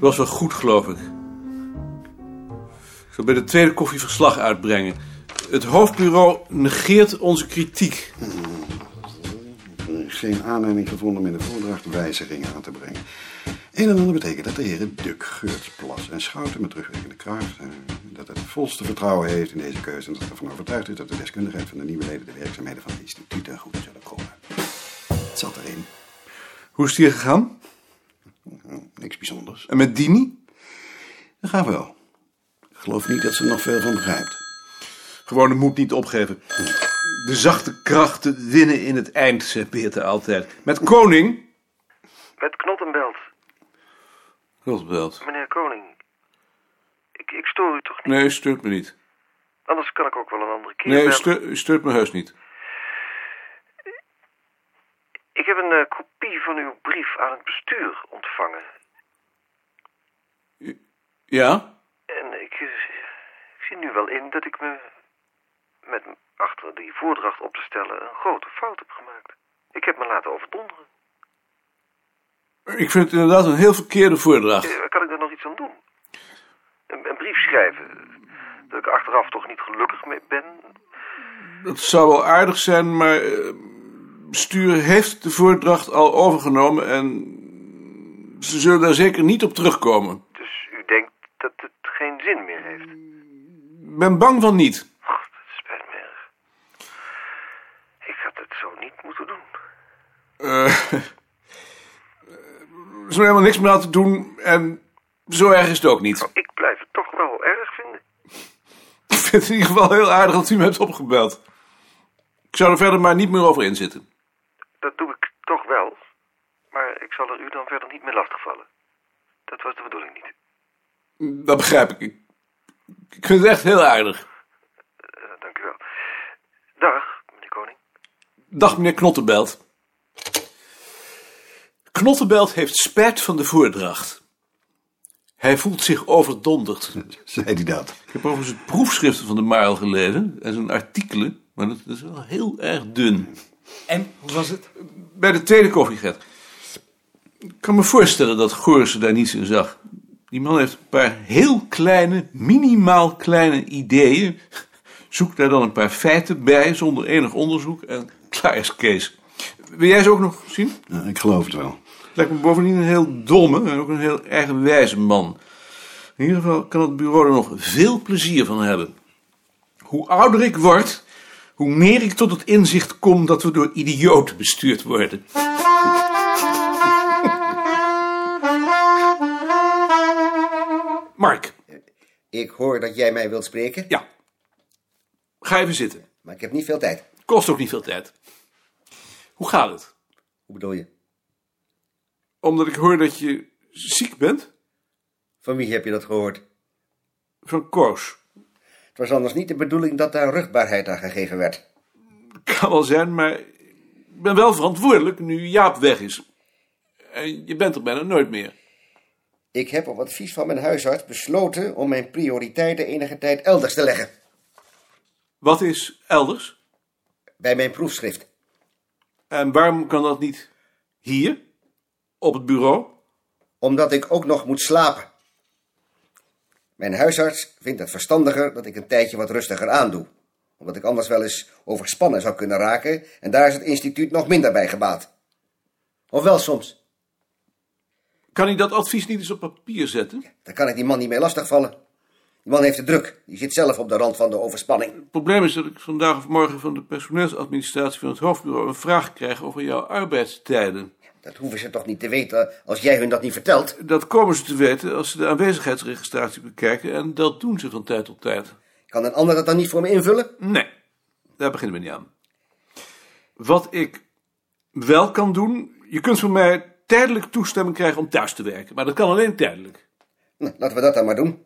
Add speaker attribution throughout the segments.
Speaker 1: was wel goed, geloof ik. Ik zal bij de tweede koffie verslag uitbrengen. Het hoofdbureau negeert onze kritiek.
Speaker 2: Er is geen aanleiding gevonden om in de voordracht wijzigingen aan te brengen. Een en ander betekent dat de heren Duk, Geurts, Plas en Schouten met terugwerkende kracht... eh, dat het volste vertrouwen heeft in deze keuze... en dat het ervan overtuigd is dat de deskundigheid van de nieuwe leden... de werkzaamheden van de instituten goed zullen komen. Het zat erin.
Speaker 1: Hoe is het hier gegaan?
Speaker 2: Hm, Niks bijzonders.
Speaker 1: En met Dini?
Speaker 2: Dat gaat wel. Ik geloof niet dat ze er nog veel van begrijpt.
Speaker 1: Gewoon de moed niet opgeven. De zachte krachten winnen in het eind, zegt Beerte altijd. Met Koning...
Speaker 3: Met Knottenbelt,
Speaker 1: Rotbelt.
Speaker 3: meneer Koning. Ik, ik stoor u toch niet?
Speaker 1: Nee, stuurt me niet.
Speaker 3: Anders kan ik ook wel een andere keer
Speaker 1: Nee,
Speaker 3: bellen.
Speaker 1: stu- stuurt me heus niet.
Speaker 3: Ik heb een eh, kopie van uw brief aan het bestuur ontvangen.
Speaker 1: Ja?
Speaker 3: En ik, eh, ik zie nu wel in dat ik me met m- achter die voordracht op te stellen een grote fout heb gemaakt. Ik heb me laten overdonderen.
Speaker 1: Ik vind het inderdaad een heel verkeerde voordracht.
Speaker 3: Eh, Kan ik daar nog iets aan doen? Een, een brief schrijven. Dat ik achteraf toch niet gelukkig mee ben.
Speaker 1: Het zou wel aardig zijn, maar eh, bestuur heeft de voordracht al overgenomen en ze zullen daar zeker niet op terugkomen.
Speaker 3: Dus u denkt dat het geen zin meer heeft.
Speaker 1: Ik ben bang van niet.
Speaker 3: Och, dat spijt me erg. Ik had het zo niet moeten doen.
Speaker 1: Eh, er is helemaal niks meer aan te doen en zo erg is het ook niet.
Speaker 3: Ik blijf het toch wel erg vinden.
Speaker 1: Ik vind het in ieder geval heel aardig dat u me hebt opgebeld. Ik zou er verder maar niet meer over inzitten.
Speaker 3: Dat doe ik toch wel. Maar ik zal er u dan verder niet mee lastigvallen. Dat was de bedoeling niet.
Speaker 1: Dat begrijp ik. Ik- Ik vind het echt heel aardig.
Speaker 3: Eh, dank u wel. Dag, meneer Koning.
Speaker 1: Dag, meneer Knottenbelt. Knottenbelt heeft spijt van de voordracht. Hij voelt zich overdonderd.
Speaker 2: Zei hij dat?
Speaker 1: Ik heb overigens het proefschrift van de Maal gelezen en zijn artikelen, maar dat is wel heel erg dun.
Speaker 4: En, hoe was het?
Speaker 1: Bij de tweede koffie, Gert. Ik kan me voorstellen dat Goorsen daar niets in zag. Die man heeft een paar heel kleine, minimaal kleine ideeën. Zoek daar dan een paar feiten bij, zonder enig onderzoek. En klaar is Kees. Wil jij ze ook nog zien?
Speaker 2: Nou, ik geloof het wel.
Speaker 1: Lijkt me bovendien een heel domme en ook een heel eigenwijze man. In ieder geval kan het bureau er nog veel plezier van hebben. Hoe ouder ik word, hoe meer ik tot het inzicht kom dat we door idioten bestuurd worden. Mark,
Speaker 5: Ik hoor dat jij mij wilt spreken,
Speaker 1: ja. Ga even zitten.
Speaker 5: maar ik heb niet veel tijd.
Speaker 1: Kost ook niet veel tijd. Hoe gaat het?
Speaker 5: Hoe bedoel je?
Speaker 1: Omdat ik hoor dat je ziek bent
Speaker 5: Van wie heb je dat gehoord?
Speaker 1: van Koos.
Speaker 5: Het was anders niet de bedoeling dat daar ruchtbaarheid aan gegeven werd.
Speaker 1: Kan wel zijn, maar ik ben wel verantwoordelijk nu Jaap weg is. En je bent er bijna nooit meer.
Speaker 5: Ik heb op advies van mijn huisarts besloten om mijn prioriteiten enige tijd elders te leggen.
Speaker 1: Wat is elders?
Speaker 5: Bij mijn proefschrift.
Speaker 1: En waarom kan dat niet hier, op het bureau?
Speaker 5: Omdat ik ook nog moet slapen. Mijn huisarts vindt het verstandiger dat ik een tijdje wat rustiger aandoe. Omdat ik anders wel eens overspannen zou kunnen raken. En daar is het instituut nog minder bij gebaat. Of wel soms.
Speaker 1: Kan hij dat advies niet eens op papier zetten?
Speaker 5: Daar kan ik die man niet mee lastigvallen. Die man heeft de druk. Die zit zelf op de rand van de overspanning.
Speaker 1: Het probleem is dat ik vandaag of morgen van de personeelsadministratie van het hoofdbureau een vraag krijg over jouw arbeidstijden.
Speaker 5: Dat hoeven ze toch niet te weten als jij hun dat niet vertelt?
Speaker 1: Dat komen ze te weten als ze de aanwezigheidsregistratie bekijken en dat doen ze van tijd tot tijd.
Speaker 5: Kan een ander dat dan niet voor me invullen?
Speaker 1: Nee, daar beginnen we niet aan. Wat ik wel kan doen, je kunt van mij tijdelijk toestemming krijgen om thuis te werken, maar dat kan alleen tijdelijk.
Speaker 5: Nou, laten we dat dan maar doen.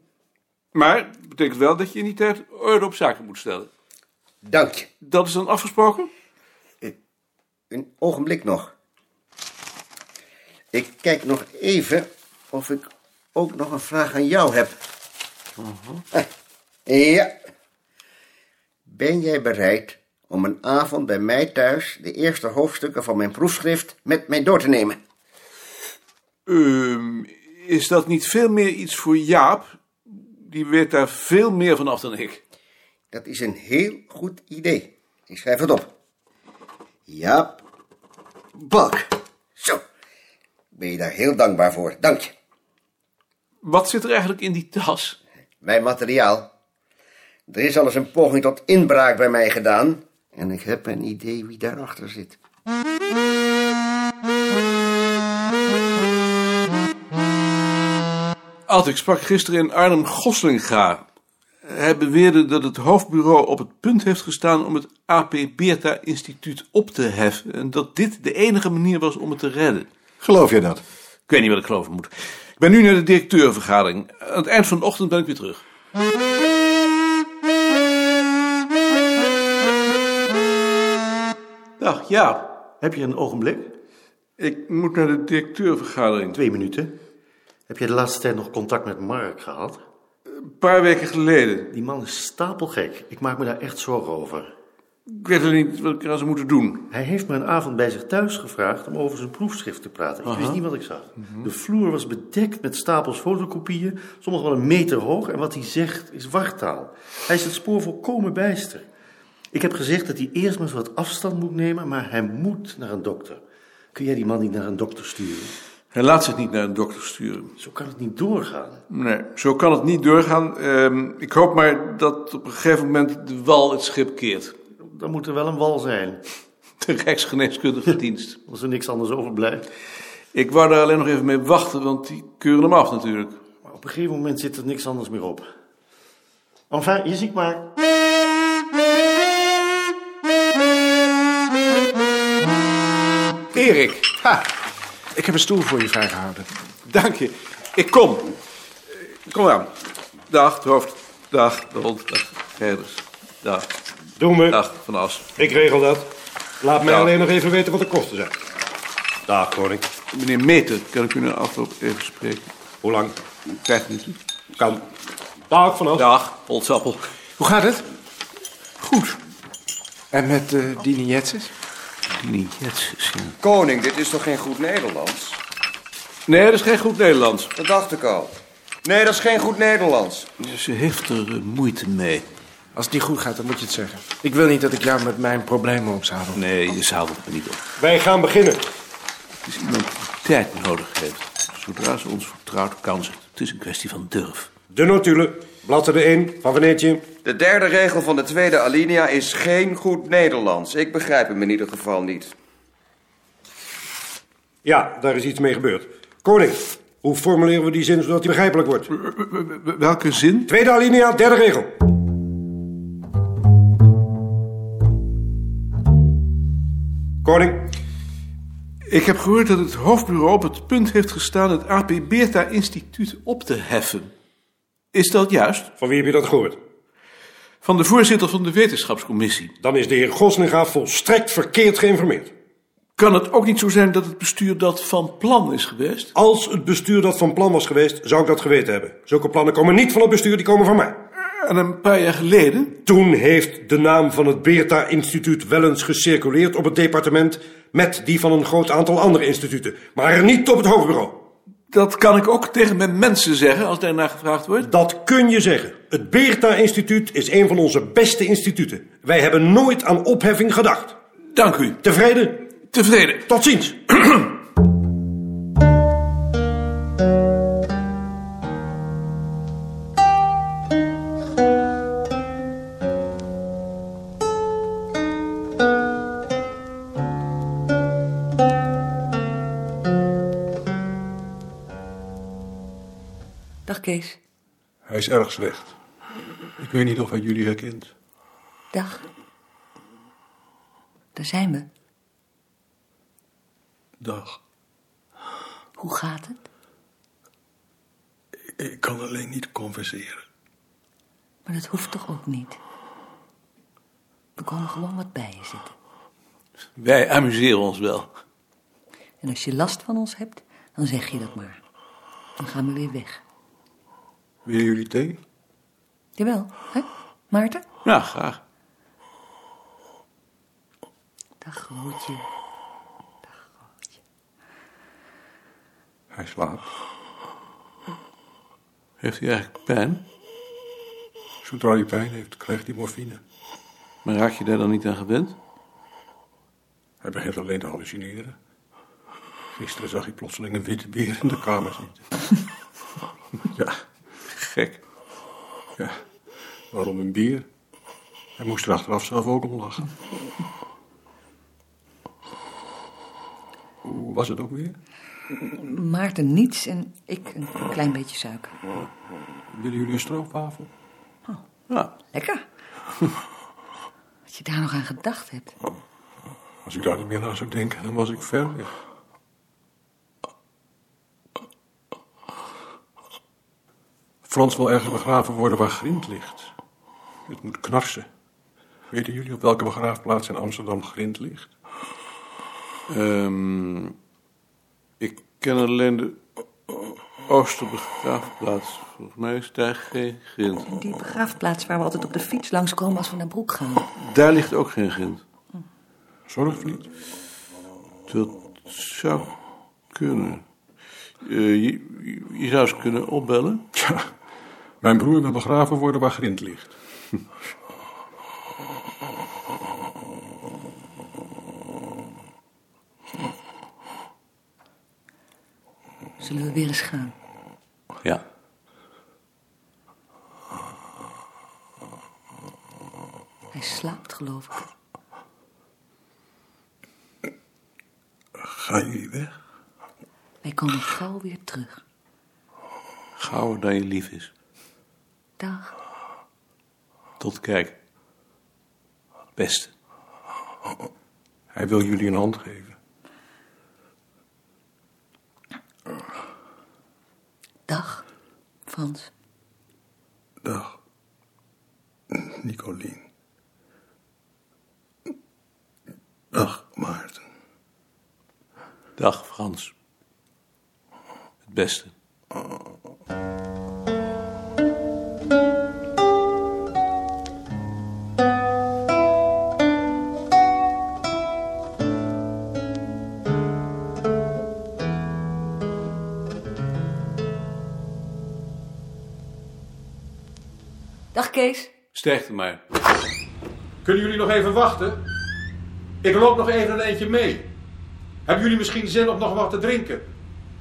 Speaker 1: Maar dat betekent wel dat je in die tijd orde op zaken moet stellen.
Speaker 5: Dank je.
Speaker 1: Dat is dan afgesproken?
Speaker 5: Een ogenblik nog. Ik kijk nog even of ik ook nog een vraag aan jou heb. Ah, Ja. Ben jij bereid om een avond bij mij thuis de eerste hoofdstukken van mijn proefschrift met mij door te nemen?
Speaker 1: Ehm, is dat niet veel meer iets voor Jaap? Die weet daar veel meer van af dan ik.
Speaker 5: Dat is een heel goed idee. Ik schrijf het op. Jaap Balk. Zo. Ben je daar heel dankbaar voor. Dank je.
Speaker 1: Wat zit er eigenlijk in die tas?
Speaker 5: Mijn materiaal. Er is al eens een poging tot inbraak bij mij gedaan. En ik heb een idee wie daarachter zit.
Speaker 1: Ad, ik sprak gisteren in Arnhem Goslinga. Hij beweerde dat het hoofdbureau op het punt heeft gestaan om het AP Beerta Instituut op te heffen. En dat dit de enige manier was om het te redden.
Speaker 2: Geloof je dat?
Speaker 1: Ik weet niet wat ik geloven moet. Ik ben nu naar de directeurvergadering. Aan het eind van de ochtend ben ik weer terug.
Speaker 3: Dag, ja. Heb je een ogenblik?
Speaker 1: Ik moet naar de directeurvergadering.
Speaker 3: Twee minuten. Heb je de laatste tijd nog contact met Mark gehad?
Speaker 1: Een paar weken geleden.
Speaker 3: Die man is stapelgek. Ik maak me daar echt zorgen over.
Speaker 1: Ik weet er niet wat ik eraan zou moeten doen.
Speaker 3: Hij heeft me een avond bij zich thuis gevraagd om over zijn proefschrift te praten. Ik wist niet wat ik zag. De vloer was bedekt met stapels fotocopieën, sommige wel een meter hoog. En wat hij zegt is wartaal. Hij is het spoor volkomen bijster. Ik heb gezegd dat hij eerst maar eens wat afstand moet nemen, maar hij moet naar een dokter. Kun jij die man niet naar een dokter sturen?
Speaker 1: Hij laat zich niet naar een dokter sturen.
Speaker 3: Zo kan het niet doorgaan.
Speaker 1: Nee, zo kan het niet doorgaan. Ehm, ik hoop maar dat op een gegeven moment de wal het schip keert.
Speaker 3: Dan moet er wel een wal zijn.
Speaker 1: De Rijksgeneeskundige dienst.
Speaker 3: Als er niks anders overblijft.
Speaker 1: Ik wou daar alleen nog even mee wachten, want die keuren hem af natuurlijk.
Speaker 3: Maar op een gegeven moment zit er niks anders meer op. Enfin, je ziet maar.
Speaker 1: Erik,
Speaker 6: Ha, ik heb een stoel voor je vrijgehouden.
Speaker 1: dank je. Ik kom. Eh, Kom aan. Dag, het hoofd. Dag, de hond. Dag, Gerders. Dag.
Speaker 6: Doen we.
Speaker 1: Dag, Van As.
Speaker 6: Ik regel dat. Laat mij
Speaker 1: Ja.
Speaker 6: alleen nog even weten wat de kosten zijn. Dag, koning.
Speaker 1: Meneer Meter, kan ik u nou na afloop even spreken?
Speaker 6: Hoe lang?
Speaker 1: Krijgt u het?
Speaker 6: Kan. Dag, Van As.
Speaker 1: Dag, Holtzappel.
Speaker 6: Hoe gaat het?
Speaker 1: Goed.
Speaker 6: En met eh Dini Jetses?
Speaker 1: Niet, Jezus, ja.
Speaker 7: Koning, dit is toch geen goed Nederlands?
Speaker 1: Nee, dat is geen goed Nederlands.
Speaker 7: Dat dacht ik al. Nee, dat is geen goed Nederlands.
Speaker 1: Ze heeft er eh, moeite mee.
Speaker 6: Als het niet goed gaat, dan moet je het zeggen. Ik wil niet dat ik jou met mijn problemen opzadel.
Speaker 1: Nee, je zadelt me niet op.
Speaker 6: Wij gaan beginnen.
Speaker 1: Het is iemand die tijd nodig heeft. Zodra ze ons vertrouwt, kan ze. het. Het is een kwestie van durf.
Speaker 6: De notulen, bladzijde 1 van Veneetje.
Speaker 7: De derde regel van de tweede alinea is geen goed Nederlands. Ik begrijp hem in ieder geval niet.
Speaker 6: Ja, daar is iets mee gebeurd. Koning, hoe formuleren we die zin zodat die begrijpelijk wordt?
Speaker 1: Welke zin?
Speaker 6: Tweede alinea, derde regel. Koning,
Speaker 1: Ik heb gehoord dat het hoofdbureau op het punt heeft gestaan het AP Beerta Instituut op te heffen. Is dat juist?
Speaker 6: van wie heb je dat gehoord?
Speaker 1: Van de voorzitter van de wetenschapscommissie.
Speaker 6: Dan is de heer Goslinga volstrekt verkeerd geïnformeerd.
Speaker 1: Kan het ook niet zo zijn dat het bestuur dat van plan is geweest?
Speaker 6: Als het bestuur dat van plan was geweest, zou ik dat geweten hebben. Zulke plannen komen niet van het bestuur, die komen van mij.
Speaker 1: En een paar jaar geleden?
Speaker 6: Toen heeft de naam van het Beerta-instituut wel eens gecirculeerd op het departement... met die van een groot aantal andere instituten, maar niet op het hoofdbureau.
Speaker 1: Dat kan ik ook tegen mijn mensen zeggen als daarna gevraagd wordt.
Speaker 6: Dat kun je zeggen. Het Beerta-instituut is een van onze beste instituten. Wij hebben nooit aan opheffing gedacht.
Speaker 1: Dank u.
Speaker 6: Tevreden?
Speaker 1: Tevreden.
Speaker 6: Tot ziens.
Speaker 8: Dag Kees.
Speaker 9: Hij is erg slecht. Ik weet niet of hij jullie herkent.
Speaker 8: Dag. Daar zijn we.
Speaker 9: Dag.
Speaker 8: Hoe gaat het?
Speaker 9: Ik kan alleen niet converseren.
Speaker 8: Maar dat hoeft toch ook niet? We komen gewoon wat bij je zitten.
Speaker 1: Wij amuseren ons wel.
Speaker 8: En als je last van ons hebt, dan zeg je dat maar. Dan gaan we weer weg.
Speaker 9: Willen jullie thee?
Speaker 8: Jawel, hè? Maarten?
Speaker 1: Ja, graag.
Speaker 8: Dag, Rootje.
Speaker 9: Hij slaapt.
Speaker 1: Heeft hij eigenlijk pijn?
Speaker 6: Zodra hij pijn heeft, krijgt hij morfine.
Speaker 1: Maar raak je daar dan niet aan gewend?
Speaker 6: Hij begint alleen te hallucineren. Gisteren zag hij plotseling een witte beer in de kamer zitten. ja,
Speaker 1: Gek.
Speaker 6: ja. Waarom een beer? Hij moest er achteraf zelf ook om lachen. Hoe was het ook weer?
Speaker 8: Maarten niets en ik een klein beetje suiker.
Speaker 6: Willen jullie een stroopwafel?
Speaker 1: Ja,
Speaker 8: Lekker. Wat je daar nog aan gedacht hebt.
Speaker 6: Als ik daar niet meer aan zou denken, dan was ik ver weg. Frans wil ergens begraven worden waar Grind ligt. Het moet knarsen. Weten jullie op welke begraafplaats in Amsterdam Grind ligt?
Speaker 1: Ehm, ik ken alleen de o- Oosterbegraafplaats. Volgens mij is daar geen grind.
Speaker 8: Die begraafplaats waar we altijd op de fiets langskomen als we naar Broek gaan.
Speaker 1: Daar ligt ook geen grind.
Speaker 6: Zorgvliet?
Speaker 1: Dat zou kunnen. Eh, je, je- je zou ze kunnen opbellen.
Speaker 6: Tja, mijn broer wil begraven worden waar Grind ligt.
Speaker 8: Zullen we weer eens gaan?
Speaker 1: Ja.
Speaker 8: Hij slaapt, geloof ik.
Speaker 6: Gaan jullie weg?
Speaker 8: Wij komen gauw weer terug.
Speaker 1: Gauwer dan je lief is.
Speaker 8: Dag.
Speaker 1: Tot kijk. Beste.
Speaker 6: Hij wil jullie een hand geven.
Speaker 8: Dag, Frans.
Speaker 6: Dag, Nicolien. Dag, Maarten.
Speaker 1: Dag Frans. Het beste.
Speaker 8: Dag, Kees.
Speaker 1: Sterkte maar.
Speaker 10: Kunnen jullie nog even wachten? Ik loop nog even een eentje mee. Hebben jullie misschien zin om nog wat te drinken?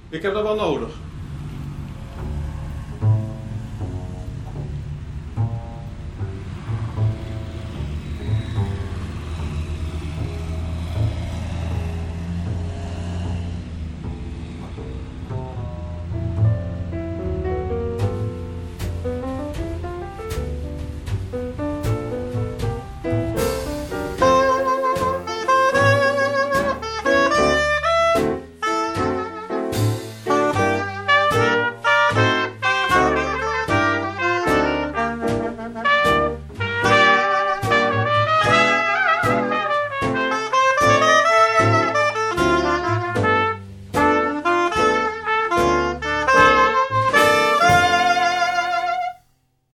Speaker 10: Ik heb dat wel nodig.